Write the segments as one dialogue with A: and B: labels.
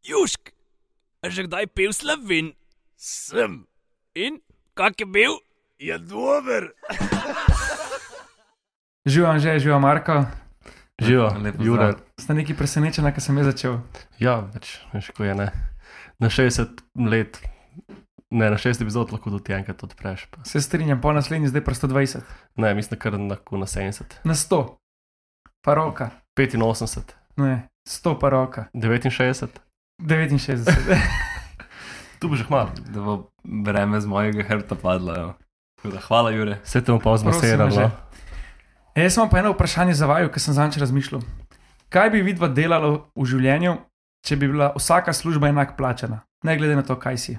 A: Južk, a že kdaj pil slovin?
B: Sem,
A: In kak je bil?
B: je dober.
C: Živijo, Anže, živijo, Marko.
D: Živijo,
E: Lep
D: Jure.
E: pozdrav.
C: Ste neki presenečeni, ker sem jaz začel.
D: Ja, več, veš, ko je ne. Na 60 let, ne, na 60 epizod lahko tudi enkrat odpreš. Pa.
C: Se strinjam, po naslednji zdaj pa 120,
D: Ne, mislim, da kar lahko na 70.
C: na 100, pa roka,
D: 85,
C: ne, 100 pa roka,
D: 69,
C: 69.
D: tu bo že hmalo.
E: Da bo breme z mojega hrbta padlo. jo. Tako Da, hvala, Jure.
D: Se te bom pa no.
C: Prosim, že.
D: zmaseralo.
C: E, Jaz imam pa eno vprašanje za vaju, ker sem zanč razmišljal. Kaj bi vidva delala v življenju, če bi bila vsaka služba enak plačana, ne glede na to, kaj si?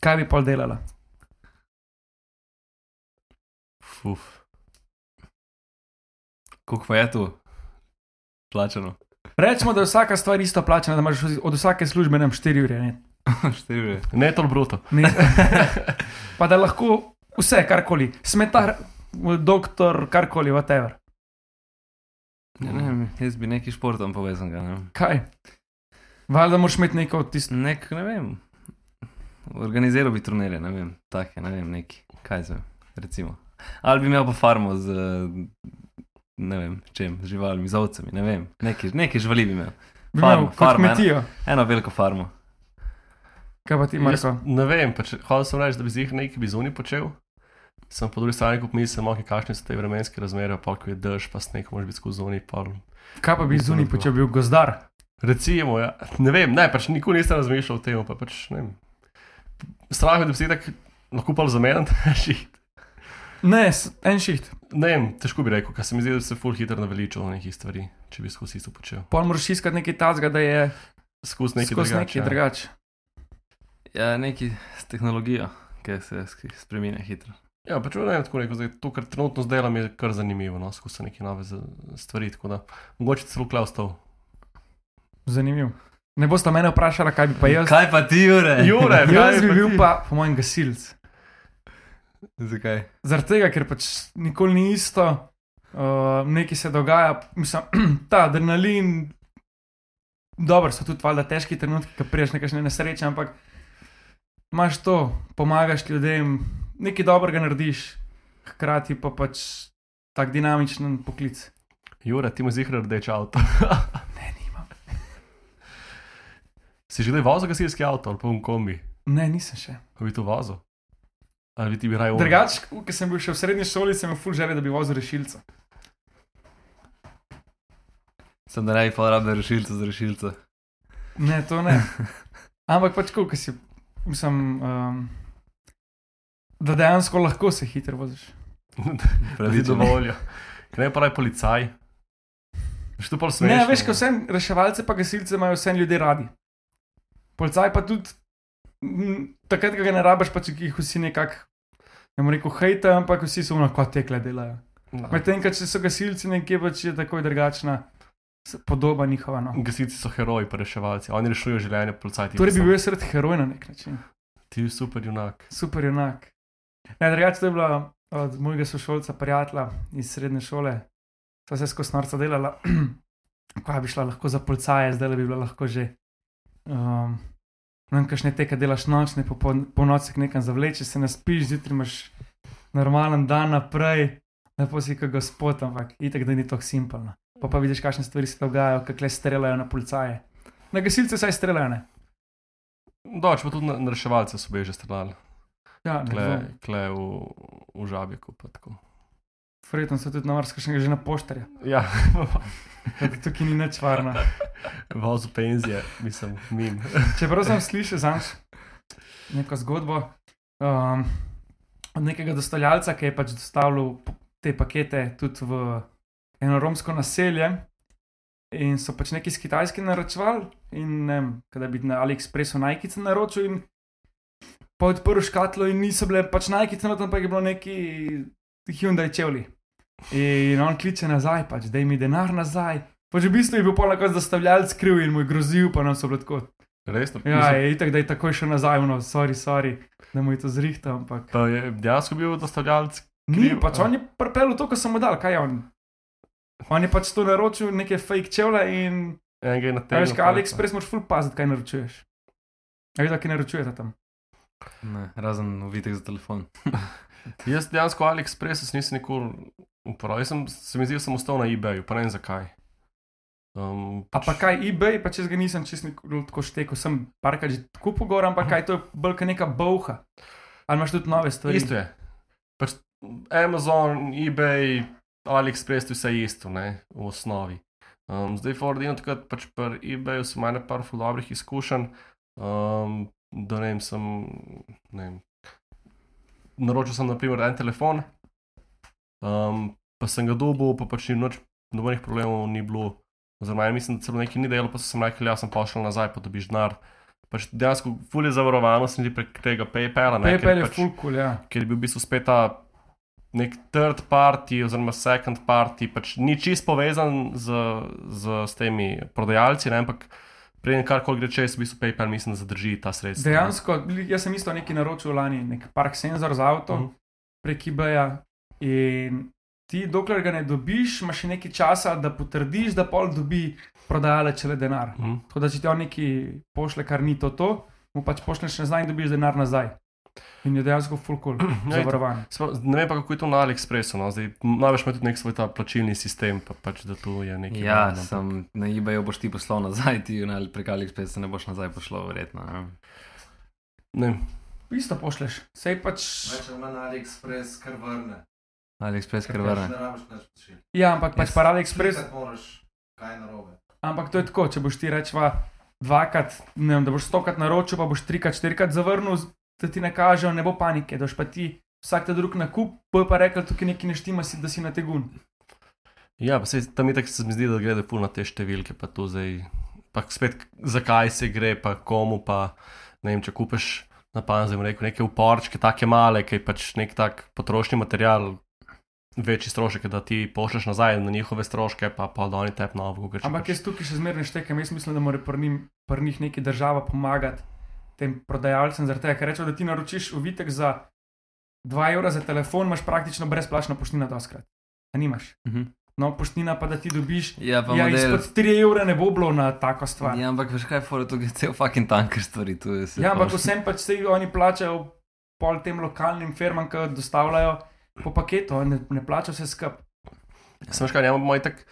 C: Kaj bi pol delala?
D: Fuf.
E: Kako pa je tu? Plačano.
C: Rečemo, da je vsaka stvar isto plačana, da imaš od vsake službe nam 4 ure, ne?
E: 4 ure.
D: Ne, to je bruto.
C: ne. Pa da lahko vse, karkoli, smetar, doktor, karkoli, whatever.
E: Ne, ne, vem, jaz bi neki športom povezan. Ga, ne.
C: Kaj? Valjda moraš imeti neko od tistih.
E: Nek, ne vem. Organiziral bi turnirje, ne vem, take, ne vem, neki, kaj zvem, recimo. Ali bi imel pa farmo z, eh, ne vem, čem, z živalmi, z ovcami, ne vem, neki, neki živali bi imel.
C: Bi
E: Farm,
C: imel kot
E: farm,
C: kmetijo.
E: Eno veliko farmo.
C: Kaj pa ti,
D: Jaz
C: Marko?
D: Ne vem, pač, hodil sem reči, da bi z njih nekaj bizuni počel. Sem po drugi strani kup misel, ok, kakšne so te vremenske razmere, pa ko je dež, pa sneg, moraš biti skozi zunaj. Pa...
C: Kaj pa bi zunaj počel, bil gozdar?
D: Recimo, ja. ne vem, ne, pač nikoli nisem razmišljal o tem, pa pač ne vem. Strah me, da bi se tako lahko pa zamenjal,
C: Ne, s- en šiht.
D: ne vem, težko bi rekel, ker se mi zdi, da bi se full hitro naveličal nekih stvari, če bi skozi isto počel.
C: Pol moraš iskati nekaj tazga, da je
D: Skozi nekaj
C: skozi
D: drugače.
C: nekaj
D: ja.
C: drugače.
E: Ja, neki s tehnologijo, ki se sk- spreminja hitro.
D: Ja, pač ne vem, tako rekel, zdaj, to, kar trenutno zdaj delam, je kar zanimivo, no, skozi so neke nove za- stvari, tako da mogoče celo klaustov.
C: Zanimivo. Ne boste mene vprašali, kaj bi pa jaz.
E: Kaj pa ti, Jure?
D: Jure,
C: Eh. Jaz bi
D: pa
C: bil
D: ti?
C: pa, po mojem, gasilc.
E: Zakaj?
C: Zaradi tega, ker pač nikoli ni isto, uh, nekaj se dogaja, mislim, ta adrenalin. Dobro, so tudi valjda težki trenutki, ko priješ nekaj nesreče, ampak imaš to, pomagaš ljudem, nekaj dobrega narediš, hkrati pa pač tak dinamičen poklic.
D: Jure, ti mu zihra rdeč avto.
C: Ne, nimam.
D: Si že kdaj vozil gasilski avto ali pa v kombi?
C: Ne, nisem še.
D: Ali bi to vozil? Ali bi ti bi raje umrl?
C: Drugač, ko sem bil še v srednji šoli, sem imel ful želje, da bi vozil rešilca.
E: Sem da raje pa rabim rešilca za rešilca.
C: Ne, to ne. Ampak pač, ko si, mislim, um, da dejansko lahko se hitro voziš.
D: Pravi
E: Pravičen.
D: dovolj. Ne pa raje policaj. Že to pol smeš.
C: Ne, veš, ko vsem reševalce pa gasilce imajo vsem ljudje radi. Policaj pa tudi, m, takrat, ko ga ne rabiš, pač jih vsi nekako, ne bom rekel hejta, ampak vsi so "No, unako tekle delajo.
D: No.
C: Medtem, ko če so gasilci nekje, pač je takoj drugačna s- podoba njihova. No.
D: Gasilci so heroji, pa reševalci. Oni rešujejo življenje policajti.
C: Torej bi bil jaz sred heroj na nek način.
D: Ti si super junak.
C: Super junak. Ne, drugače to je bila od mojega sošolca, prijatelja iz srednje šole, sva se skozi norca delala, pa bi šla lahko za policaje, zdaj bi bila lahko že. Um, Nam kašne teke delaš nočne, po, po noči nekam zavleče, se naspiš, zjutraj imaš normalen dan naprej, lepo si kot gospod, ampak itek, da ni tako simpelno. Pa pa vidiš, kakšne stvari se dogajajo, kakle streljajo na policaje. Na gasilce vsaj streljajo, ne?
D: Doč, pa tudi na, na reševalce so bili že streljali.
C: Ja, ne. dvomim.
D: Kle, kle v, v žabiku. pa tako.
C: Verjetno so tudi na vrstkašnega že na poštarja.
D: Ja,
C: Tako da Tukaj ni nič varno.
D: vozu penzije, mislim, mim.
C: Čeprav sem slišal zanj neko zgodbo um, od nekega dostavljalca, ki je pač dostavljal p- te pakete tudi v eno romsko naselje. In so pač neki iz Kitajske naročvali, in ne vem, kaj da bi na AliExpressu najkice naročil. In pa odprl škatlo, in niso bile pač najkice, no tam pa je bilo neki Hyundai čevli. In on kliče nazaj, pač, da mi denar nazaj. Pač v bistvu je bil polno kot zastavljalec kriv in mu je grozil, pa nam so bili tako,
D: Resno.
C: Ja, je itak, da je takoj še nazaj, no, sorry, sorry, da mu je to zrihtal, ampak.
D: Pa je dejansko bil dostavljalec.
C: Ni,
D: kriv,
C: pač
D: a?
C: on je pripeljal to, kar sem mu dal, kaj je on. On je pač to naročil, neke fake čevlje in
D: Enega je na
C: Ja,
D: tem.
C: veš, kaj AliExpress moraš ful paziti, kaj naročuješ. Ja, vidiš, kaj naročujete tam.
E: Ne, razen uvitek za telefon.
D: Jaz dejansko AliExpress jaz nisem nikoli uporabil. Jaz sem, se mi zdi, da sem ostal na eBayu, pa ne vem zakaj. Um,
C: A pa kaj eBay, pa če ga nisem čest nikoli tako štekel, sem parkrat že tako pogor, ampak kaj to je bolj kot neka boha. Ali imaš tudi nove stvari?
D: Isto je. Pač Amazon, eBay, AliExpress, to je vse isto, ne, v osnovi. Um, zdaj, Fordino, takrat pač pri eBayu sem imel par ful dobrih izkušenj, um, da ne vem, sem. Ne vem, naročil sem, naprimer, en telefon, um, pa sem ga dobil, pa pač ni noč, nobenih problemov ni bilo. Oziroma, ja mislim, da celo nekaj ni delo, pa so sem rekel, ja, sem pošel nazaj, pa dobiš denar. Pač dejansko, fulje zavarovano, sem ti prek tega PayPala. ne, ker
C: PayPal je
D: pač-
C: ful kul, ja.
D: ker je bil v bistvu spet ta nek third party, oziroma second party, pač ni čist povezan z, z, z temi prodajalci, ne? ampak preden karkoli gre čez, v bistvu PayPal mislim, da zadrži ta sredstva. ne.
C: Dejansko, li- jaz sem isto nekaj naročil lani, nek park senzor za avto uh
D: Mhm.
C: -huh. prek eBaya. In ti, dokler ga ne dobiš, imaš še nekaj časa, da potrdiš, da pol dobi prodajalec le denar.
D: Mhm.
C: Tako da, če ti on nekaj pošle, kar ni to, to mu pač pošleš nazaj in dobiš denar nazaj. In je dejansko full cool,
D: itak.
C: zavarovan.
D: Sploh- Ne vem pa, kako je to na AliExpressu. No? Zdaj, m, Največ ima tudi nek svoj ta plačilni sistem, pa pač da tu je nekaj. no.
E: Ja,
D: malo,
E: sem na eBayu boš ti poslal nazaj, ti na- prek AliExpress se ne boš nazaj poslal, verjetno. Ne?
D: Ne, vem.
C: Isto pošleš, sej pač.
F: Če ima na AliExpress, kar vrne.
E: AliExpress kar
F: Pač
E: vrne.
F: Ne rabiš več pošiljati.
C: Ja, ampak pač
E: Jaz-
C: pa AliExpress.
F: Prikrat moraš, kaj je narobe.
C: Ampak to je tako, če boš ti rečva dvakrat, ne vem, da boš stokrat naročil, pa boš trikrat, štirikrat zavrnil, z- da ti ne kažejo, ne bo panike, da boš pa ti vsak ta drug nakup, bo pa rekel, tukaj nekaj neštima, si, da si na tegun.
D: Ja, pa se tam itak se mi zdi, da gre puno te številke, pa to zdaj. Pa spet, zakaj se gre, pa komu, pa ne vem, če kupiš na panzem rekel, neke uporčke, take male, ki je pač nek tak potrošni material, večji strošek, je, da ti pošleš nazaj na njihove stroške, pa pa da oni tep novo, kot
C: Ampak
D: pač,
C: jaz tukaj še zmeraj štekam, jaz mislim, da mora pri njim- pri njih neki država pomagati tem prodajalcem, zaradi tega, ker rečejo, da ti naročiš uvitek za 2 evra za telefon, imaš praktično brezplačno poštnina doskrat. A nimaš.
E: Mhm.
C: No, poštnina pa da ti dobiš.
E: Ja, pa
C: Ja,
E: model.
C: izpod 3 evra ne bo bilo na tako stvar.
E: Ja, ampak veš kaj, fora, to je cel fucking tanker stvari. to je se
C: Ja, ampak
E: pač-
C: vsem pač se oni plačajo pol tem lokalnim firmam, ki dostavljajo po paketu, ne, ne plačajo vse skup.
D: Sem škar, ja, moj tak.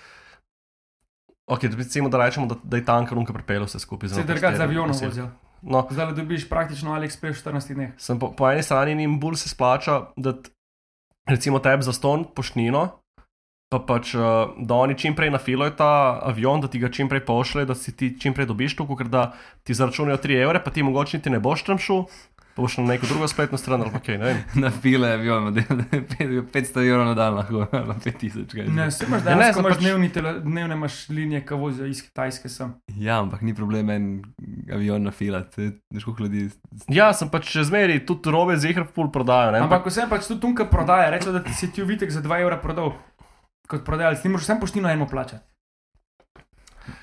D: Ok, da recimo, da rečemo, da, da je tanker unka pripeljal vse skupaj.
C: Se drga z avionom vozijo.
D: No,
C: Zdaj le dobiš praktično AliExpress v 14 dneh.
D: Sem po, po eni strani jim bolj se splača, da t- recimo tebi za ston pošnino, pa pač, eh, da oni čim prej nafilajo ta avion, da ti ga čim prej pošlje, da si ti čim prej dobiš to, ker da ti zaračunajo 3 evre, pa ti mogoče niti ne boš tam šel, pa boš na neko drugo spletno stran ali pa kaj, ne vem.
E: Na file je bil, model, da je pet- 500 evrov na dan lahko, ali pa 5000 kaj.
C: Ne, se imaš
D: Ja, ne,
C: danes,
D: sem
C: imaš
D: pač-
C: dnevni tele, dnevne imaš linije, ki vozijo iz Kitajske sem.
E: Ja, ampak ni problem en avion na file, veš koliko ljudi.
D: Ja, sem pač še zmeri, tudi robe z jih pol prodajo, ne.
C: Ampak vsem pač tu tunka prodaja, reče, da ti si ti uvitek za 2 evra prodal. Kot prodajalec, ti moraš vsem poštino eno plačati.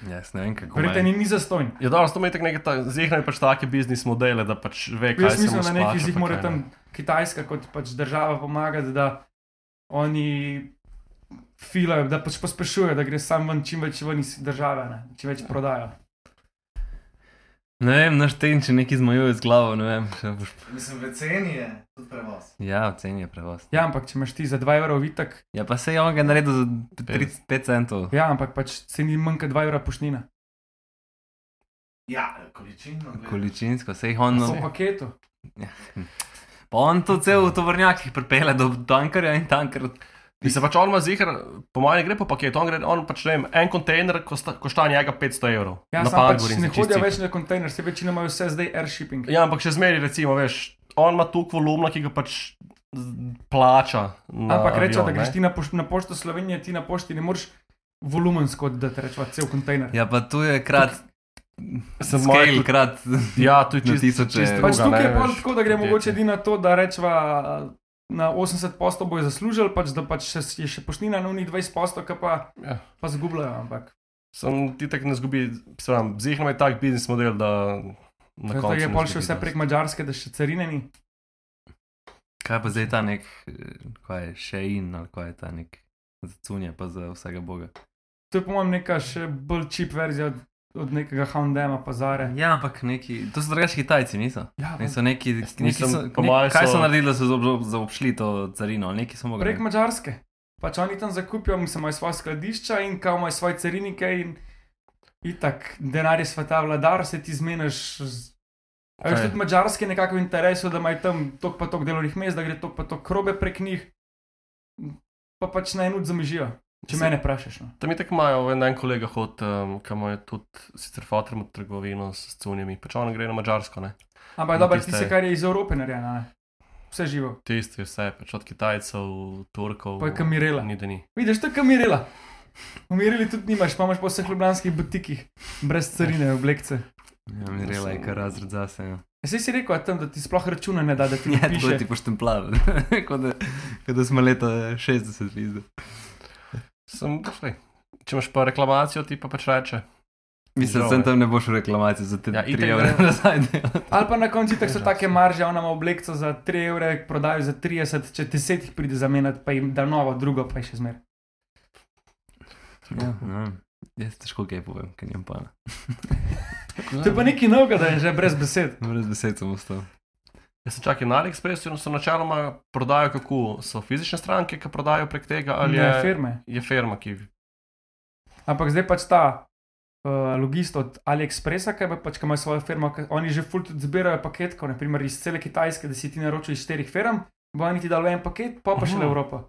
E: Jaz ne vem kako.
C: Verjete, ni, ni zastojn.
D: Ja, dobro, to ima tako nekaj, ta, zihna je pač take biznis modele, da pač ve, kaj
C: Jaz
D: se mu
C: mislim, da
D: splača.
C: nekaj jih
D: pa
C: mora
D: kaj ne.
C: tam Kitajska kot pač država pomagati, da oni filajo, da pač pospešujejo, da gre sam ven čim več ven iz države, ne? čim več prodajo.
E: Ne vem, naš teden, če neki zmajuje z glavo, ne vem. še boš-
F: Mislim, v ceni je tudi prevoz.
E: Ja, ocen je prevoz.
C: Ja, ampak če imaš ti za 2 evra uvitek,
E: Ja, pa se je on ga naredil za 35 centov.
C: ja, ampak pač se ni manj kot 2 evra pošnina.
F: Ja, količino. gledano.
E: Količinsko, se jih
F: Ja,
E: on.
C: No. Po paketu.
E: Pa on to cel tovornjak jih pripele do tankerja in tanker.
D: In se pač on ima zihar, po mojem, ne gre po paketu, on, gre, on pač ne vem, en kontejner kosta, košta njega 500 evrov.
C: Ja,
D: na
C: sam
D: par
C: pač
D: govorim,
C: ne
D: zdaj čisto
C: hodijo
D: cifre.
C: več na kontejner, se večina imajo vse zdaj airshipping.
D: Ja, ampak še zmeri, recimo, veš, on ima tu volumna, ki ga pač z- plača. Na
C: Ampak rečejo, da
D: avion,
C: greš
D: ne.
C: ti na, poš na pošto Slovenije, ti na pošti ne moreš volumensko, da te rečeva cel kontejner.
E: Ja, pa tu je krat.
D: Sem
E: Scale
D: moral-
E: krat.
D: Ja, tu je
E: na
D: čisto
E: tisoče
D: čisto
E: evrov.
C: Pač
D: druga,
C: tukaj
D: ne,
C: je bolj
D: veš,
C: tako, da gre
D: podjetje.
C: mogoče edina to, da rečeva na 80 postov bojo zaslužili, pač da pač še, je še poštnina na unih 20 postov, ki pa,
D: Ja.
C: pa zgubljajo. Ampak
D: Sem ti tako ne zgubi, sram, zihar je tak biznis model, da na
C: to
D: koncu.
C: je
D: ne
C: bolj še
D: zgubi
C: vse
D: dosti.
C: prek Mačarske, da še carine ni.
E: Kaj pa zdaj ta nek, eh, kaj je še in ali kaj je ta nek, za cunje pa za vsega boga.
C: To je po mojem neka še bolj čip verzija od od nekega Houndema, pazare.
E: Ja, ampak neki, to so drugačni Kitajci, niso.
C: Ja,
E: Ne, so neki,
D: Jaz
E: neki
D: nisem-
E: so,
D: po
E: nek,
D: moje
E: kaj so
D: so-
E: naredili, da so zaob- zaobšli to carino? ali Nekaj so mogli.
C: prek
E: ne?
C: Mačarske. Pač oni tam zakupijo, mislim, imajo svoje skladišča in kao imajo svoje carinike in itak denar je sveta vladar, se ti zmeniš. Z... A Veš,
D: Kaj?
C: tudi mačarski je nekako v interesu, da imajo tam tok pa tok delovnih mest, da gre tok pa tok krobe prek njih, pa pač na enud zamižijo, če
D: Se-
C: mene vprašaš. No.
D: Tam je tako imajo, en, en kolega hod, um, ki ima tudi sicer fatrmo trgovino s cunjami, pač on gre na Mačarsko, ne.
C: Ampak
D: In
C: dobro,
D: tiste-
C: ti se kar je iz Evrope narejeno, a ne? vse živo,
D: Tisti vse, pač od Kitajcev, Turkov.
C: pa je kamirela.
D: Ni, da ni.
C: Vidiš, to je kamirela. Umirili tudi nimaš, pa imaš po vseh ljubljanskih butikih, brez carine, oblekce.
E: Ja, Mirela je kar razred zase. Ja.
C: Sej si rekel, a tam, da ti sploh računa ne da, da ti
E: Ja,
C: ne
E: tako
C: piše.
E: ti poštemplava, kot da, kot da smo leta 60 videli.
D: Sem, šlej, če imaš pa reklamacijo, ti pa pač reče.
E: Mislim,
D: Žal,
E: da
D: ja.
E: tam ne boš v reklamacijo za te
D: Ja,
E: 3
D: itak
E: evre
D: ne.
E: nazaj.
C: Ali pa na koncu
E: Ja,
C: tako so take marže, ona ima oblekco za 3 evre, prodajo za 30, če 10 jih pride zamenjati, pa jim da novo, drugo pa je še zmeraj.
E: Ja, ne vem. Jaz težko kaj povem, ker nimam pojma.
C: To je
E: Ja.
C: pa nekaj novega, da je že brez besed.
E: No, Brez besed sem ostal.
D: Jaz sem čakal na AliExpressu in so načeloma prodajo, kako so fizične stranke, ki prodajo prek tega, ali
C: Ne,
D: je,
C: firme.
D: je firma, ki
C: Ampak zdaj pač ta uh, logist od AliExpressa, ki pa pač ki ima svojo firmo, ki- oni že ful tudi zbirajo paketkov, naprimer iz cele Kitajske, da si ti naročil iz štirih firm, bo oni ti dali en paket, pa pa še le
D: Aha.
C: Evropa.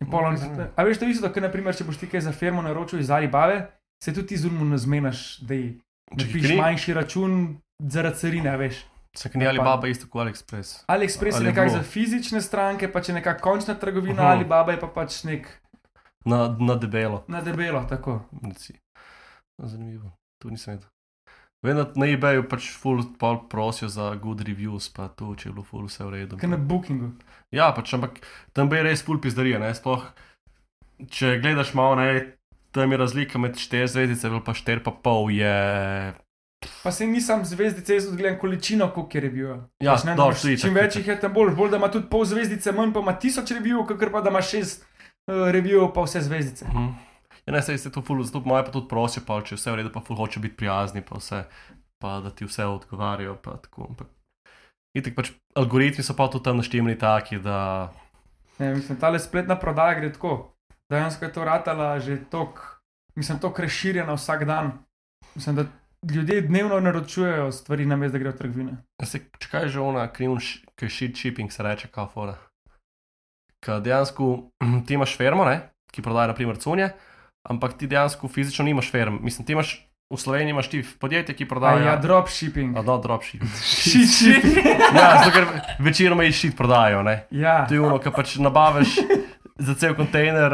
C: In pol oni,
D: Zanimivo.
C: a veš, to je isto, kot naprimer, če boš ti kaj za firmo naročil iz Alibave, se tudi ti zunmo ne zmenaš, da ji napiš
D: kri-
C: manjši račun zaradi carine, a veš.
D: se knjige ali
C: Ja, pa-
D: baba isto kot AliExpress.
C: AliExpress je
D: Ali je
C: nekako
D: bilo?
C: za fizične stranke, pa če je nekakšna končna trgovina,
D: Aha.
C: Alibaba je pa pač nek
D: Na, na debelo.
C: na debelo, tako.
D: Reci. Zanimivo, tu nisem vedel. Vem, da na eBayu pač full pol prosijo za good reviews, pa to če je bilo full vse v redu.
C: Kot na Bookingu.
D: Ja, pač, ampak tam bi res full pizdarija, ne, sploh. Če gledaš malo, ne, tam je razlika med 4 zvezdice in pa 4 pa pol je.
C: Pa se nisem zvezdice, jaz tudi gledam količino, koliko je revijev.
D: Ja,
C: Pač ne, da
D: dobro,
C: imaš-
D: tudi
C: čim
D: tako,
C: več jih je, tem bolj, bolj da ima tudi pol zvezdice, manj pa ima tisoč revijev, kakor pa da ima šest uh, revijev, pa vse zvezdice.
D: Mhm. Ja, ne, sej se to ful, zato moje pa tudi prosijo, pa če je vse v redu, pa ful hoče biti prijazni, pa vse, pa da ti vse odgovarjajo, pa tako. Ampak. Itek pač algoritmi so pa tudi tam naštemljeni taki, da
C: Ne, mislim, ta spletna prodaja gre tako. Dejansko je to ratala že tok, mislim, tok razširjena vsak dan. Mislim, da ljudje dnevno naročujejo stvari, namesto da grejo v trgovine.
D: Ja, Se, če kaj je že ona, kriv, kaj shit shipping se reče, kao fora. Ker dejansko ti imaš firmo, ne, ki prodaja naprimer cunje, ampak ti dejansko fizično nimaš firm. Mislim, ti imaš v Sloveniji imaš ti podjetje, ki
C: Da,
D: prodaja.
C: ja, dropshipping.
D: A da, dropship.
C: Shit, shit.
D: ja, zato ker večinoma jih shit prodajajo, ne.
C: Ja.
D: To je ono, kar pač nabaviš za cel kontejner.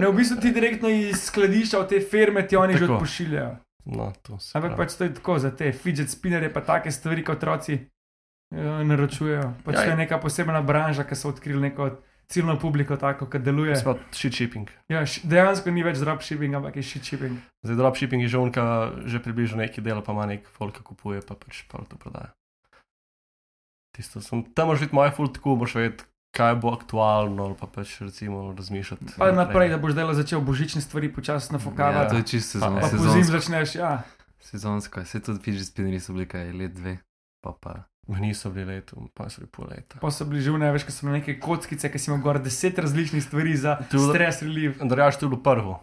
C: Ne,
D: Uh,
C: v bistvu ti direktno iz skladišča v te firme ti oni že
D: Tako.
C: pošiljajo.
D: no, to se.
C: Ampak
D: pravi.
C: pač to je tako za te fidget spinnerje, pa take stvari, kot otroci eh, naročujejo. Pač
D: Ja,
C: to je
D: in-
C: neka posebna branža, ki so odkrili neko ciljno publiko, tako ki deluje.
D: Spet shit shipping.
C: Ja, š- dejansko ni več dropshipping, ampak je shit shipping.
D: Zdaj, dropshipping je že unka, že približno neki del, pa ima nek folk, ki kupuje, pa pač pa to prodaja. Tisto sem, tam moraš biti moj full tako, moraš vedeti, kaj bo aktualno, ali pa pač recimo razmišljati.
C: Pa
D: ja.
C: naprej, da boš delal začel božične stvari počasno
E: Ja, to
C: fokavati.
E: je čisto
D: Pa-
E: sezonsko.
C: Pa po zim začneš, ja.
E: Sezonsko, se tudi fidget spinnerji so bili kaj let dve, pa pa.
D: Meni so bili leto, pa so bili pol leta.
C: Pa so bili že vne, veš, ko so bile neke kockice, ki si imel gor deset različnih stvari za
D: Tu-
C: stres relief.
D: Andrej, to je bilo prvo.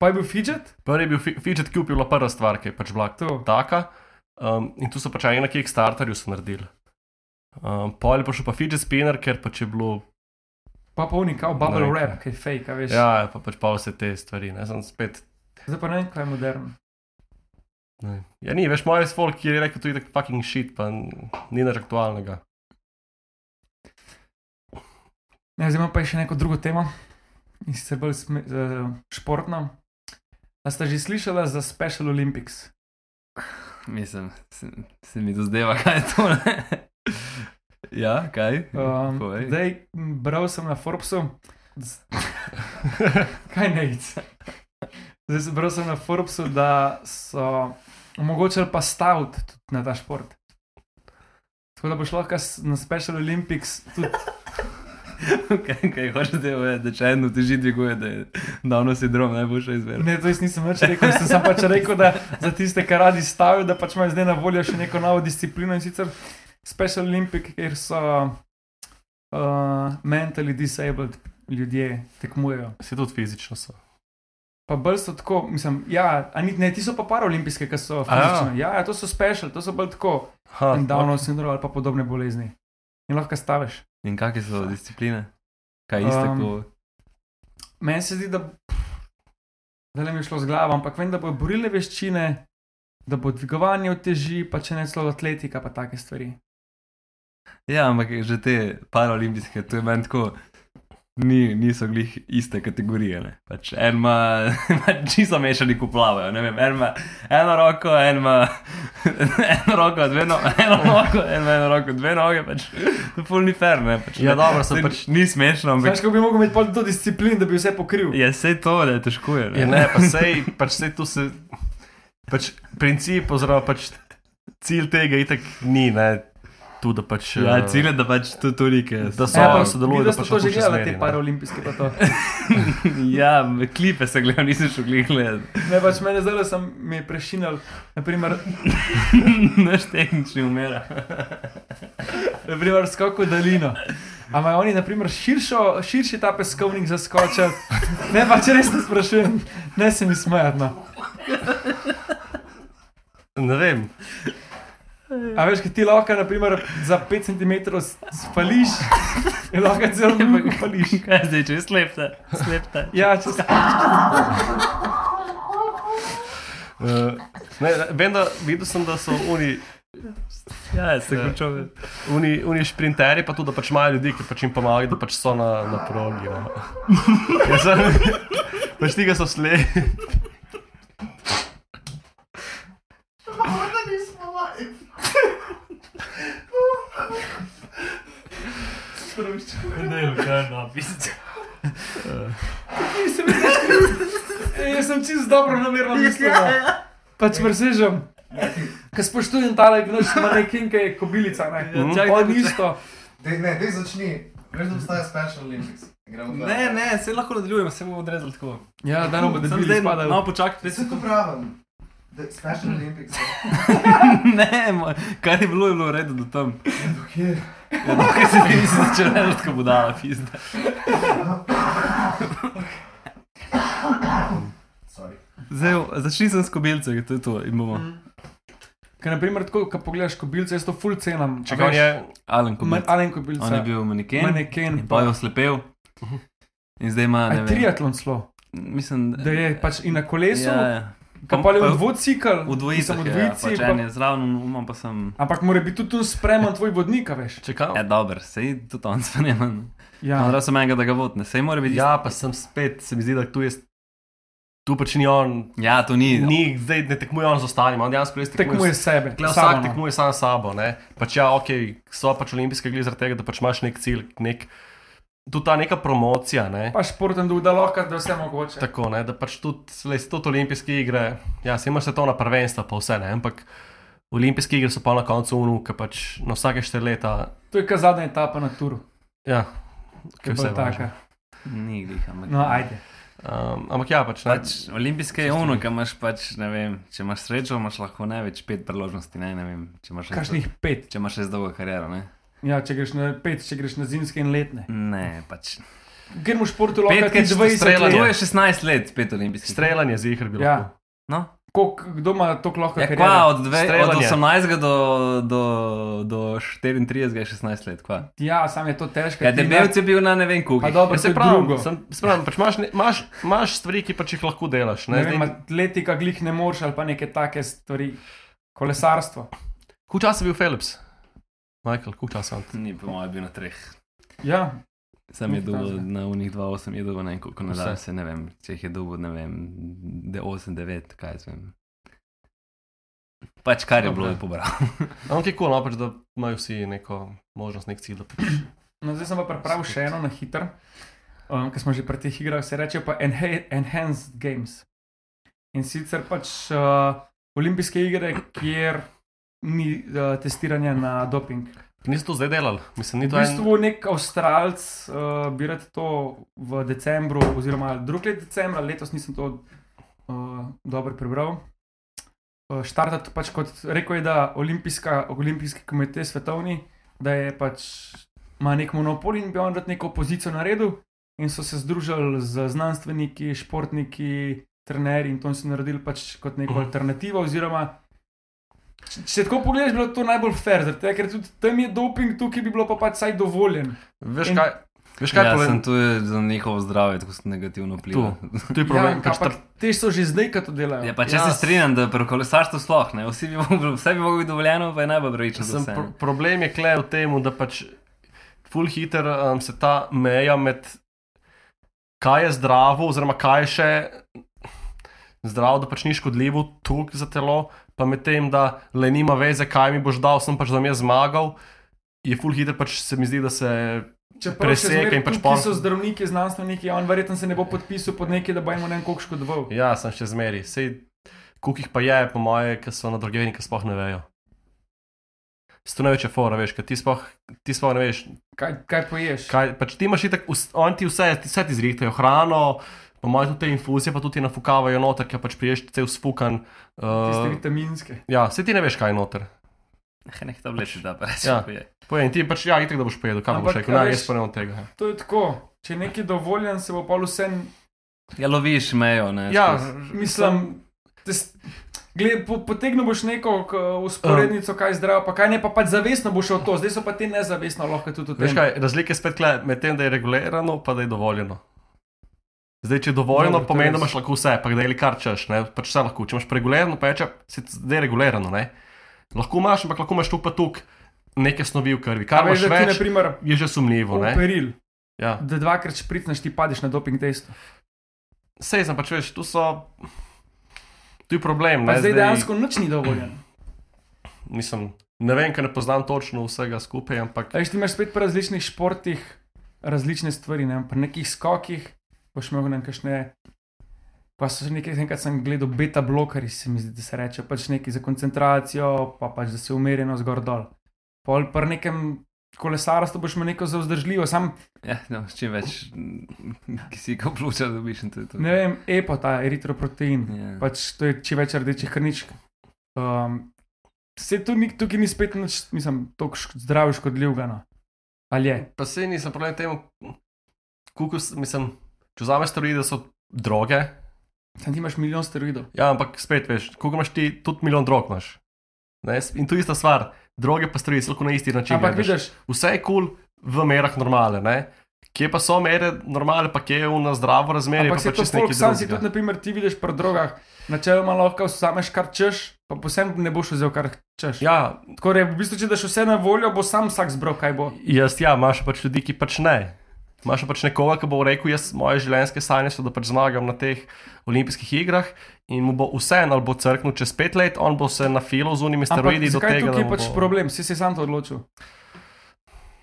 C: Pa je bil fidget,
D: Prvi je bil fi- fidget cube, je bila prva stvar, ki je pač bila
C: to.
D: taka. Um, in tu so pač eni na Kickstarterju so naredili. Um, pol je pa šel pa fidget spinner, ker pač je bilo
C: Pa polni kao bubble
D: Ne vem,
C: wrap,
D: kaj.
C: ki je fake, a veš.
D: Ja, pa pač pa vse te stvari, ne sem spet.
C: Zdaj pa ne vem, kaj je modern.
D: Ne. Ja, ni več moj folk, ki je rekel, da je tako fucking shit, pa n- ni nič aktualnega.
C: Ne, zdaj imamo pa še neko drugo temo, in sicer bolj sme, uh, športno. A ste že slišali za Special Olympics?
E: Mislim, se, se mi dozdeva, kaj je to. Ne? Ja, kaj?
C: Um,
E: Povej.
C: zdaj, m, bral sem na Forbesu, da s- kaj ne vidiš. Zdaj sem bral sem na Forbesu, da so omogočili pa stavt tudi na ta šport. Tako da boš lahko s- na Special Olympics tudi
E: Kaj, kaj hočeš zdaj povedati, da če eno teži dviguje, da je davno sindrom najboljša izbira.
C: Ne, to jaz nisem več rekel, sem samo pač rekel, da za tiste, ki radi stavijo, da pač imajo zdaj na voljo še neko novo disciplino in sicer Special Olympic, kjer so uh, mentally disabled ljudje tekmujejo.
D: Se tudi fizično so.
C: Pa bolj so tako, mislim, ja, a ni, ne, ti so pa paraolimpijske, ki so
D: A ja.
C: fizične. Ja, ja, to so special, to so bolj tako.
D: Ha,
C: In Downov sindrom ali pa podobne bolezni. In lahko staviš.
E: In kakšne so discipline? Kaj iste
C: Um,
E: um, kot
C: Meni se zdi, da, da ne bi šlo z glavo, ampak vem, da bo borilne veščine, da bo dvigovanje v teži, pa če ne celo atletika, pa take stvari.
E: Ja, ampak že te paraolimpijske, to je meni tako. Ni, niso glih iste kategorije. Ne. Pač en ima ima čisto mešani, ko plavajo. ne Vem, en ima eno roko, en ima eno roko, dve noge, eno roko, en ima eno roko, dve noge. Pač, to je polni fer. Ne, pač,
D: Ja,
E: ne.
D: dobro, so
E: Saj
D: pač-
E: Ni smešno, ampak
C: Veš, kako bi mogel imeti pol to disciplin, da bi vse pokril.
E: je vse to, da je težko. Je,
D: Ja, ne, pa sej, pač sej tu se. Pač princip, oziroma pač cilj tega itak ni, ne, tu da pač.
E: ja,
D: eh,
E: cilj je, da pač to toliko je.
D: Da so-
C: Ja, pa
D: sodeluje,
C: videl
D: da
C: sem
D: pač
C: to
D: lahko
C: že
D: še
C: gledal,
D: zmeri,
C: te
D: ne.
C: paraolimpijske pa to.
E: Ja, klipe se gledajo, nisem šel glih gledati.
C: Ne, pač mene zdaj sem mi prešinil, naprimer,
E: Naš tehnični umira.
C: naprimer skok v daljino. Ampak oni, naprimer, širšo, širši ta peskovnik zaskočil. Ne, pač res ne sprašujem, ne se mi smejatno.
D: eh, Ne vem,
C: A veš, kaj ti lahko naprimer, za 5 cm spališ, in lahko
E: Ja,
C: celo nekaj spališ.
E: Kaj zdaj, če je slepta? Slepta.
C: Ja, če se
D: uh, ne, ne, vem, da videl sem, da so oni,
E: Ja, se končuje.
D: oni, oni šprinterji, pa tudi da pač imajo ljudi, ki pač jim pomagajo, da pač so na, na progi. No. Ja, sem, pač tega so slepi.
C: nisem videl. Jaz sem čist dobro namerno
E: Ja,
C: mislil. no. Pač presežem. Ker spoštujem ta nek naš manekin, ki je kobilica. Ne,
E: Ja, čakaj,
C: ja,
E: da bi-
C: isto.
F: Dej, ne, dej začni. Veš, da obstaja Special Olympics. Gremo tja.
E: Ne, ne, se lahko nadaljujemo, se bomo odrezali tako.
C: Ja, da nam bo
E: Samo
C: debeli
E: zdaj,
C: spadal.
E: No, počakaj,
F: Jaz se to pravim. Da- Special Olympics.
E: Ne, moj, kar je bilo, je bilo v redu do tam.
F: Dokje?
E: Ja, dokaj se ti nisi začel reči, tako budala, pizda.
F: Sorry.
E: Zdaj, začni sem s kobilcem, to je to, in bomo.
C: Ker naprimer, tako, ko pogledaš kobilice, jaz to full cenam.
D: Če kaj je,
E: Alen kobilc.
C: Alen
E: On je
C: kobilica.
E: bil maneken,
C: Maneken.
E: in pa je oslepel. In zdaj ima,
C: A
E: ne
C: je
E: vem,
C: triatlon slo,
E: mislim,
C: da je pač in na kolesu,
E: Ja,
C: ja,
E: ja.
C: pa pa je
E: Pa-
C: v dvocikl,
E: V dvojici,
C: mislim, v
E: ja,
C: dvojici,
E: pač
C: pa-
E: en je zraven, imam pa sem...
C: Ampak mora biti tudi tu spreman tvoj vodnik, a veš.
D: če kaj.
E: Ja, dober, sej tudi on spremem.
C: Ja,
E: Odraz sem enega, da ga vodne, sej mora biti.
D: Ja, pa sem spet, se mi zdi, da tu je. Tu pač ni on,
E: Ja, to ni.
D: ni, zdaj ne tekmuje on z ostalimi, on dejansko res
C: tekmuje
D: tekmuje
C: sebe.
D: Glej,
C: samo,
D: vsak
C: no.
D: tekmuje sam s sabo. ne. Pač ja, ok, so pač olimpijske igre zaradi tega, da pač imaš nek cilj, nek, tudi ta neka promocija. Ne?
C: Pa športen duh, da lahko da vse mogoče.
D: Tako, ne, da pač tudi, le, tudi olimpijske igre, ja, se imaš svetovna prvenstva, pa vse ne, ampak olimpijske igre so pa na koncu unuka, pač na vsake štiri leta.
C: To je kar zadnja etapa na turu,
D: Ja,
C: ki je
D: kaj
C: bila
D: vse
C: taka.
D: važno.
E: Ni glih, ampak. ja.
C: No, ajde.
D: Um, ampak ja, pač ne.
E: Pač, olimpijske je ono, kar imaš, pač, ne vem, če imaš srečo, imaš lahko največ pet priložnosti. Ne, ne vem, če imaš res-
C: Kakšnih pet.
E: Če imaš res dolgo kariero, ne?
C: Ja, če greš na pet, če greš na zimske in letne.
E: Ne, pač.
C: Gremo v športu lahko
E: Petkrat
C: tudi 20
E: strelanje. To je
C: let.
E: 16 let, pet olimpijskih.
D: streljanje z igr bilo.
C: Ja.
E: No,
C: Kolik- Kdo ima to lahko
E: ja,
C: kariero?
E: kva, od, dve, od
D: Streljanje.
E: 18 do, do, do 34 je 16 let, kva.
C: Ja, sam je to težko.
E: Ja,
C: ti na-
E: debelc je bil na ne vem
C: Pa
E: koliko.
C: dobro,
D: Ja,
C: se
D: se
C: pravi.
D: pravi, sem, se pravi pač imaš, ne, imaš, imaš stvari, ki pač jih lahko delaš. Ne?
C: Ne vem,
D: Zdaj,
C: atletika glih ne moreš ali pa neke take stvari. Kolesarstvo.
D: Kuj časa je bil Philips? Michael, kuj časa je on?
E: Ni po mojem bil na treh.
C: Ja,
E: Sam je
C: Nekaj
E: dobil
C: takega.
E: na unih 2-8, je dobil na en koliko
D: Vse.
E: nadal se, ne vem, če jih je dobil, ne vem, 8-9, kaj jaz vem. Pač kar je bilo,
D: Dobro.
E: je pobral.
D: Ampak je kul, no, pač, da imajo vsi neko možnost, nek cilj. da pač-
C: No, zdaj sem pa pripravil še eno na hiter, um, ker smo že pri teh igrah, se reče pa enha- Enhanced Games. In sicer pač uh, olimpijske igre, kjer ni uh, testiranja na doping.
D: Niste to zdaj delali, mislim, ni
C: V
D: to en.
C: bistvu nek avstralc uh, bi rad to v decembru, oziroma drugi let decembra, letos nisem to uh, dobro prebral. Uh, Štartati pač kot rekel je, da olimpijska, olimpijski komitej svetovni, da je pač ima nek monopol in bi on rad neko opozicijo naredil. In so se združili z znanstveniki, športniki, trenerji in to in so naredili pač kot neko
D: Mhm.
C: alternativo, oziroma Če- Če tako pogledaš, bi bilo to najbolj fair, zaradi tega, ker tudi tam je doping, tukaj bi bilo pa pač vsaj dovoljen.
D: Veš
C: in-
D: kaj, veš kaj
E: Ja,
D: problem?
E: sem tu je za njihovo zdravje, tako se negativno vpliva.
D: To je problem,
C: ja,
D: pač ta
C: ampak te so že zdaj, ko to delajo.
E: Ja, pa če
D: Ja, s-
E: se strinjam, da pri kolesarstvu sploh ne, vsi bi mogli- vse bi moglo biti dovoljeno, pa je najbolj pravično. za
D: Sem,
E: vse, ne.
D: pro problem je kle v tem, da pač full hiter um, se ta meja med kaj je zdravo, oziroma kaj je še zdravo, da pač ni škodljivo tuk za telo, pa med tem, da le nima veze, kaj mi boš dal, sem pač za me zmagal. Je full hiter, pač se mi zdi, da se.
C: Čeprav še
D: preseka
C: zmeraj
D: in pač
C: tukaj
D: por-
C: so zdravniki, znanstveniki, on verjetno se ne bo podpisal pod nekaj, da bo jim ne vem koliko škodoval.
D: Ja, sem še zmeri. Sej, kuk jih pa je, po moje, ki so na drugem, ki sploh ne vejo. Sto največje fora, veš, ker ti sploh, ti sploh ne veš,
C: Kaj, kaj poješ?
D: Kaj, pač ti imaš tako, oni ti vse, ti vse ti zrihtajo hrano, pa imaš tudi te infuzije, pa tudi ti nafukavajo noter, ker pač priješ cel sfukan.
C: Tiste
D: Uh,
C: vitaminske.
D: ja, se ti ne veš, kaj je noter.
E: Eh, Nek tableti da, pa reče.
D: Ja.
E: Ja.
D: Povej, in ti pač, ja, itek, da boš pojedel, kaj
C: Ampak,
D: boš rekel,
C: a
D: naj
C: veš-
D: jaz pa ne od tega.
C: To je tako. Če je nekaj dovoljen, se bo pa vse,
E: ja, loviš mejo, ne.
D: Ja,
E: skozi.
C: mislim, tes, gled, po, potegnil boš neko k,
D: Eh.
C: usporednico, kaj je zdravo, pa kaj ne, pa pač zavestno boš šel v to, zdaj so pa te nezavestno lahko tudi v
D: Veš
C: tem.
D: kaj, razlike spet kle, med tem, da je regulirano, pa da je dovoljeno. Zdaj, če je dovoljeno,
C: Dobro, to
D: pomeni,
C: je
D: da
C: res.
D: imaš lahko vse, pa da je kar češ, ne, pač vse lahko. Če imaš regulirano, pa reče, si zdaj regulirano, ne. Lahko imaš, ampak lahko imaš tu pa tu neke snovi v krvi,
C: A
D: kar
C: veš,
D: imaš
C: da ti, na
D: več,
C: primer,
D: je že sumljivo, ne.
C: operil.
D: Ja.
C: da dvakrat špricneš, ti padeš na doping testu.
D: Sej sem pač veš, tu so. Tu je problem.
C: Pa
D: Ne,
C: zdaj dejansko nič ni dovoljen.
D: Mislim, ne vem, ker ne poznam točno vsega skupaj, ampak
C: A veš, ti imaš spet pri različnih športih različne stvari, ne? pri nekih skokih boš imel nekakšne. Pa so še nekaj, enkrat sem gledal, beta blokari, se mi zdi, da se reče, pač neki za koncentracijo, pa pač da se umerjeno zgor dol. Pol pri nekem kolesarstvu boš imel neko za vzdržljivo, sam
E: Ja, no, čim več mm, kisika pluča dobiš in to je to.
C: ne vem, epo ta eritroprotein.
E: Ja.
C: pač to je čim več rdečih krničk. Um, se tu ni, tukaj ni spet nič, mislim, tako šk zdrav, škodljiv, no. ali je.
D: pa se nisem problem temu, kukus, mislim, če vzameš stvari, da so droge.
C: Tam ti imaš milijon steroidov.
D: Ja, ampak spet veš, koliko imaš ti, tudi milijon drog imaš. Ne? In tu ista stvar, droge pa stvari so lahko na isti način.
C: Ampak
D: gledaš.
C: vidiš,
D: Vse je kul cool v merah normale, ne? Kje pa so mere normale, pa kje je v na zdravo razmerje,
C: ampak
D: pa
C: se
D: pač
C: to
D: čisto
C: folk,
D: nekaj
C: sam si tudi,
D: drugega.
C: naprimer, ti vidiš pri drogah, načeloma lahko vzameš kar češ, pa posem ne boš vzel kar češ.
D: Ja,
C: Tako je, v bistvu, če daš vse na voljo, bo sam vsak zbral, kaj bo.
D: Jaz, ja, imaš pač ljudi, ki pač ne. Imaš pač nekoga, ki bo rekel: Jaz, moje življenjske sanje so, da pač zmagam na teh olimpijskih igrah in mu bo vseeno, ali bo crknil čez pet let, on bo se nafilal z unimi
C: Ampak
D: steroidi do
C: zakaj je
D: tega.
C: tukaj
D: da mu
C: pač
D: bo... No.
C: problem? Si se sam to odločil.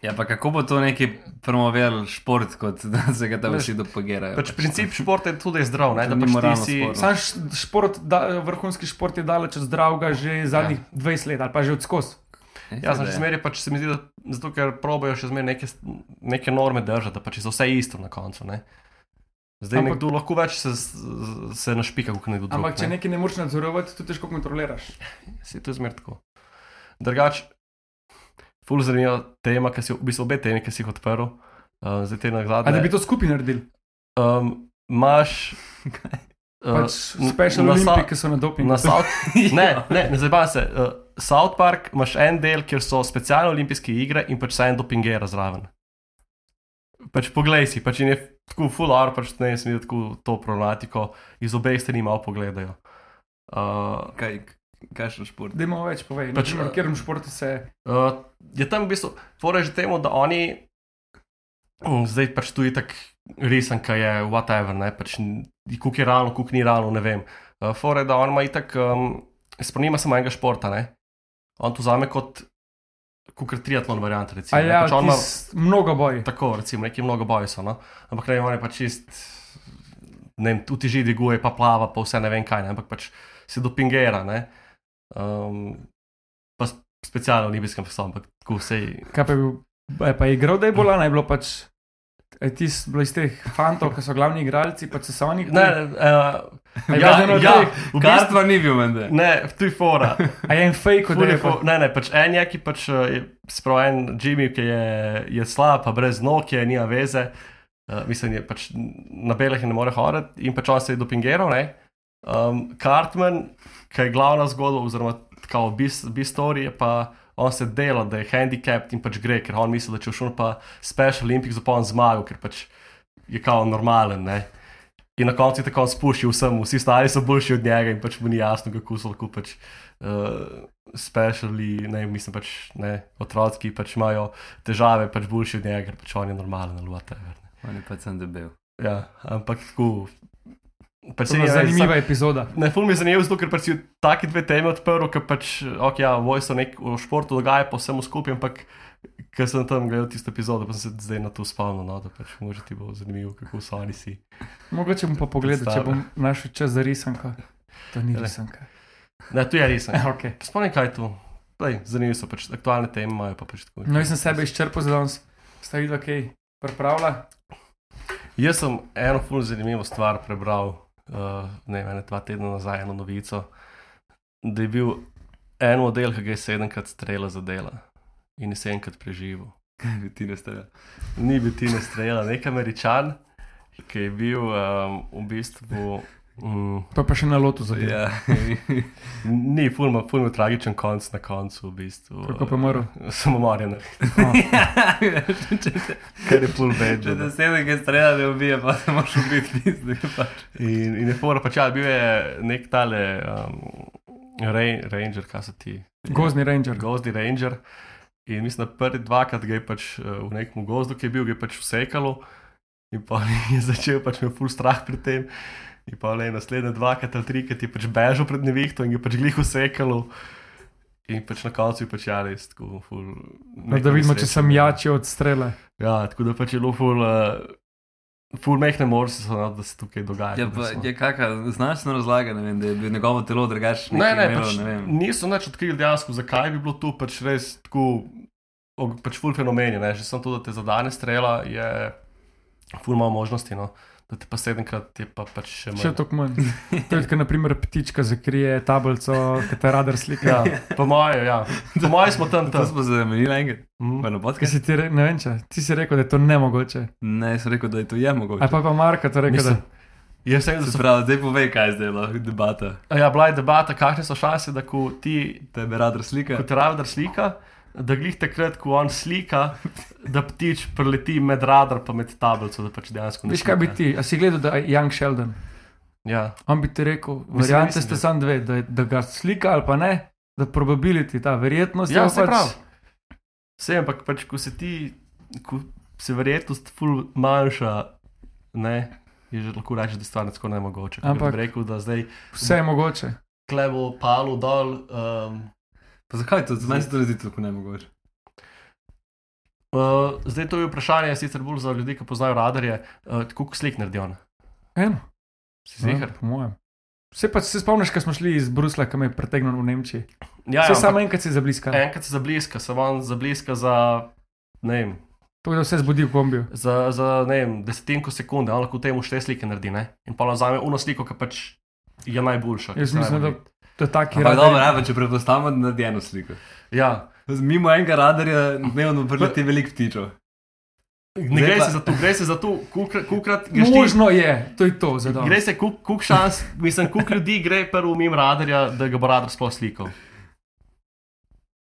E: Ja, pa kako bo to neki promoviral šport, kot da se ga tam vsi dopagirajo?
D: Pač princip športa je tudi da je zdrav, ne?
E: To
D: da
E: ni
D: pač ti
E: moralno
D: si.
E: sporno.
C: Sam š- šport, da, vrhunski šport je daleč od zdravega že zadnjih 20 let ali pa že od skozi.
D: Ja, sem še zmeraj, pač se mi zdi, da zato, ker probojajo še zmeraj neke, s- neke norme držati, da pač je za vse isto na koncu. Ne? Zdaj
C: Ampak-
D: Ampak... nekdo lahko več se, z- se našpika, kot nekdo drug.
C: Ampak če
D: ne?
C: nekaj ne moreš nadzorovati, to težko kontroliraš.
D: Se to zmer tako. Drugač, ful zanimiva tema, ki si jo- v bistvu obe temi, ki si jih odprl, uh, zdaj te
C: A da bi
D: nagrade.
C: to skupaj naredili,
D: Um, Máš. Uh,
C: pač special
D: na sa-
C: olimpije, ki so na dopingu.
D: Na South, ne, ne, ne zabavaj se. Uh, South Park imaš en del, kjer so specialne olimpijske igre in pač se en dopingera zraven. Pač poglej si, pač in je tako full hour, pač ne smem tako to problematiko iz obeh strani malo pogledajo. Uh,
E: Kaj, kakšen šport?
C: Dajmo več povej,
D: Pač,
C: pač, na
D: eh,
C: katerem športu se
D: Uh, je tam v bistvu, torej že temu, da oni, Mm, zdaj pač tu je tako resen, kaj je, whatever, ne, pač kuk je ravno, kuk ni ravno, ne vem. Uh, Fore, da on ima itak, um, spremlja samo enega športa, ne. On to zame kot, kukar triatlon variant, recimo.
C: A
D: ne,
C: ja,
D: pač on ima-
C: tis, mnogo boj.
D: Tako, recimo, neki mnogo boji so. No? Ampak ne vem, on je pač čist, ne vem, tudi že diguje, pa plava, pa vse ne vem kaj, ne? ampak pač se dopingera. ne. Um, pa s- specialno libijskem psom, ampak tako vse.
C: Kaj pa je bil, a je pa igral, da je bilo, naj bilo pač. Tisti bilo iz teh fantov, ki so glavni igralci, pač so se oni.
D: Ne, uh,
C: A je
D: ja,
C: bil eden od
D: ja,
C: teh?
D: v bistvu,
E: Garstva ni bil, menda.
D: ne, tu je fora.
C: A je en fake,
D: Ful
C: da
D: je
C: je pa.
D: fo- Ne, ne, pač en je, ki pač eh, je, sprav en Jimmy, ki je, je slab, pa brez nog, je nima veze, uh, mislim, je pač na belih ne more hoditi in pač on se je dopingiral, ne. Um, Cartman, ki je glavna zgodba, oziroma kao bistori, je pa on se dela, da je handicapped in pač gre, ker on misli, da če šel pa Special Olympics, bo pa on zmagal, ker pač je kao normalen, ne. In na koncu je tako spuščal vsem, vsi stari so boljši od njega in pač mu ni jasno, kako so lahko pač uh, speciali, ne, mislim pač ne, otroci, ki pač imajo težave, pač boljši od njega, ker pač on je normalen ali whatever. ne.
E: On je pač sem debel.
D: Ja, ampak tako. Pač
C: To je
D: ne,
C: zanimiva epizoda.
D: Ne, ful mi je zanimivo, zato ker pač si taki dve temi odprl, ker pač, ok, ja, voj so nek v športu dogaja po vsemu skupaj, ampak ker sem tam gledal tisto epizodo, pa sem se zdaj na to spomnil, no, da pač mogoče ti bo zanimivo, kako so oni si.
C: Mogoče bom pa pogledal, če
D: Predstava.
C: bom našel čas za risanko. To ni
D: Glej.
C: risanka.
D: Ne, tu je res. ne.
C: Okay.
D: Spomnim, kaj je to. Lej, zanimivo so pač aktualne teme, imajo pa pač tako.
C: No, jaz sem sebe izčrpal za danes, sta videla, kaj pripravlja.
D: Jaz sem eno fully zanimivo stvar prebral, uh, ne vem, ene dva tedna nazaj, eno novico, da je bil en model, ki ga je sedemkrat strela za dela in je sedemkrat preživel.
E: Kaj bi ti ja. nastavil?
D: Ni bil ti ne strela, nek američan, ki je bil um, v bistvu. Um,
C: Pa pa še na lotu za delo.
E: Ja,
D: ni, fulno ful tragičen konc na koncu, v bistvu. eh,
C: Kako pa umrl?
D: Samo morjen,
E: Ja. če te,
D: ker je full
E: če te
D: bedno.
E: sedem, ki strela, ne ubije, pa se moraš ubiti tistega. Pač.
D: In, in je fora, pač ja, bil je nek tale um, rej, ranger, kaj se ti.
C: Gozni ranger.
D: ja. Gozdni ranger. In mislim, da prvi dvakrat ga je pač eh, v nekem gozdu, ki je bil, ga je pač usekalo. In pa je začel pač me ful strah pred tem. In pa le naslednje dvakrat ali trikrat je pač bežal pred nevihto in ga je pač glih usekalo. In pač na koncu je pač ja res tako ful.
C: No, da vidimo, če sem jači od strele.
D: Ja, tako da pač je bilo ful. Uh, Ful mehne morsi so, no, da se tukaj dogaja.
E: Je
D: tako da
E: Ja, pa
D: so-
E: je kakšna znanstvena razlaga, ne vem, da je bilo njegovo telo drugačno.
D: Ne, ne, pač,
E: pač, ne vem.
D: niso več odkrili dejansko, zakaj bi bilo to pač res tako, og- pač ful fenomen je, ne, že samo to, da te zadane strela, je ful malo možnosti, no. da te pa sedemkrat je pa pač še
C: Še
D: manj.
C: tako manj. To je, kot naprimer ptička zakrije tablico, ki te radar slika.
D: Ja, po moje, ja. Po moje smo tam
E: To
D: tam.
E: smo se zamenili enkrat, pa
D: Mm.
E: na
C: Kaj
E: podkastu.
C: si ti rekel, ne vem če, ti si rekel, da je to nemogoče.
E: Ne, sem rekel, da je to je mogoče.
C: Ali pa je pa Marko to rekel, da
D: Mislim, Jaz sem, da
E: Se
D: so,
E: pravi, zdaj povej, kaj je zdaj lahko debata.
D: ja, bila je debata, kakšne so šanse, da ko ti,
E: Tebe radar slika.
D: ko te radar slika, da glih takrat, ko on slika, da ptič preleti med radar pa med tablico, da pač dejansko ne
C: veš kaj bi
D: slika.
C: ti, a si gledal, da je Young Sheldon.
D: Ja,
C: On bi ti rekel,
D: Mislim,
C: variante
D: mislim,
C: ste
D: da-
C: samo dve, da, da ga slika ali pa ne, da probability, ta verjetnost
D: Ja,
C: je pač
D: se
C: pa
D: pravi. Vse, ampak pač, ko se ti, ko se verjetnost ful manjša, ne, je že lahko rečeš, da je stvar tako nemogoče.
C: Ampak-
D: Ampak bi rekel, da zdaj
C: Vse je mogoče.
D: klevo palo dol. Um,
E: Pa zakaj to? Meni se to ne zdi tako nemogoče.
D: uh, zdaj to je vprašanje, sicer bolj za ljudi, ki poznajo radarje, uh, kako slik naredi on.
C: Eno.
D: Si zihar?
C: Ja, po mojem. Se pa se spomniš, ko smo šli iz Brusla, ki me je pretegnil v Nemčiji. Ja,
D: Ja, ja,
C: Vse samo
D: ampak Eh.
C: enkrat si zabliska.
D: enkrat se zabliska, se on zabliska za, ne vem,
C: To je vse zbudi v kombiju.
D: za, za ne vem, desetinko sekunde, on lahko temu šte slike naredi, ne? In pa on vzame uno sliko, ki pač je najboljša. ki
C: Jaz
D: se da
C: mislim, da
D: narediti.
C: to je taki
E: Ampak dobro,
C: radar.
E: ajde, če predpostavimo, da naredi eno sliko.
D: Ja,
E: Mimo enega radarja dnevno preleti veliko ptičev.
D: Ne
E: Zdaj
D: gre
E: pa-
D: se za to, gre se za to, kukrat, kukrat greš ti.
C: Možno je, to je to za dobro.
D: Gre se kuk, kuk šans, mislim, kuk ljudi gre prvo mimo radarja, da ga bo radar sploh slikal.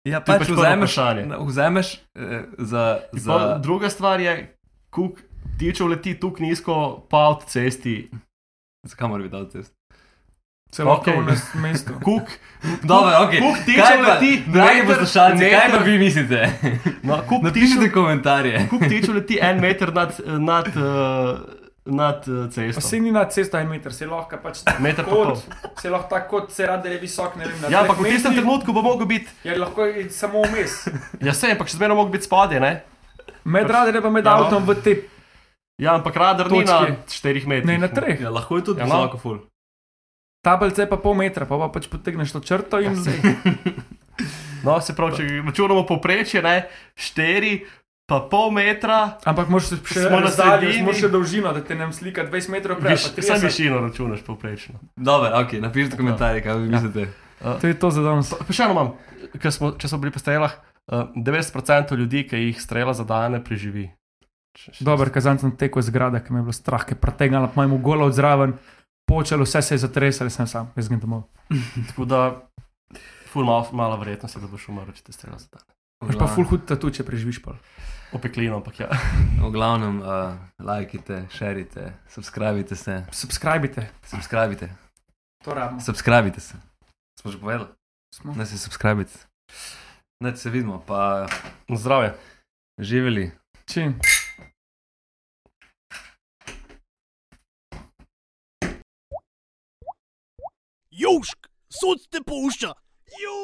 E: Ja,
D: To je pač
E: pač
D: prvo
E: vzameš,
D: vprašanje.
E: na- vzameš eh, za,
D: In
E: za
D: pol Druga stvar je, kuk tiče leti tukaj nizko, pa avto cesti.
E: Zakaj mora biti avtocest?
C: Celo okay.
D: Okej.
C: v nas mestu.
D: Kuk,
E: Dobro, ok.
D: kuk tiče
E: Kaj pa-
D: leti,
E: Dragi
D: meter-
E: poslušalci, kaj pa
D: meter-
E: vi mislite?
D: No, kuk
E: Napišite
D: tiče,
E: komentarje.
D: kuk tiče leti en meter nad, nad, eh, nad eh, cesto.
C: Vse ni na cesto, en meter, se lahko pač
D: Meter pa
C: kot, se lahko tako, kot se rade je visok, ne vem. na
D: Ja,
C: dveh
D: ampak v tistem
C: metrih,
D: trenutku bo mogel biti,
C: Je lahko i- samo vmes.
D: ja se, ampak še zmeraj mogo biti spodaj, ne?
C: Med radarjem pa med
D: Ja.
C: avtom v te,
D: Ja, ampak radar ni na
C: Točki.
D: 4 metrih.
C: ne na treh.
E: Ja, lahko je tudi
D: Ja, no.
E: visoko ful.
D: Ja,
C: Tablice pa pol metra, pa, pa pač potegneš to črto in
D: sej. No, se pravi, če računamo poprečje, ne, 4, pa pol metra,
C: Ampak moraš se še
D: Smo na
C: razdaljo,
D: sredini.
C: moraš še dolžino, da te ne slika 20 metrov prej.
D: viš,
C: pa
D: sam
C: 30.
D: višino računaš poprečno.
E: Dobro, ok, napišite komentarje, kaj
D: Ja.
E: vi mislite.
C: To je to za danes.
D: Pa še eno imam, ker smo, če smo bili pri strelah, eh, 90% ljudi, ki jih strela zadane, preživi. Če- še-
C: Dober kazanc na teku je zgrada, ki me je bilo strah, ki je pretegnila po mojem golo odzraven, počelo vse se je zatresalo, sem sam, jaz grem domov.
D: Tako da, ful mal, mala verjetnost je, da boš umrl, če te strela zadane.
C: Imaš pa full hud tatu, če preživiš pol.
D: Opeklino, ampak ja.
E: V glavnem, uh, lajkite, šerite, subskrbite se,
C: Subskrbite.
E: subskrbite,
C: To rabimo.
E: subskrbite se. Smo že povedali,
C: Smo.
E: da se subskrbite. Ne, se vidimo, pa
D: Zdravje.
E: živeli.
C: Čim.
A: Južk, sod te pušča. Južk.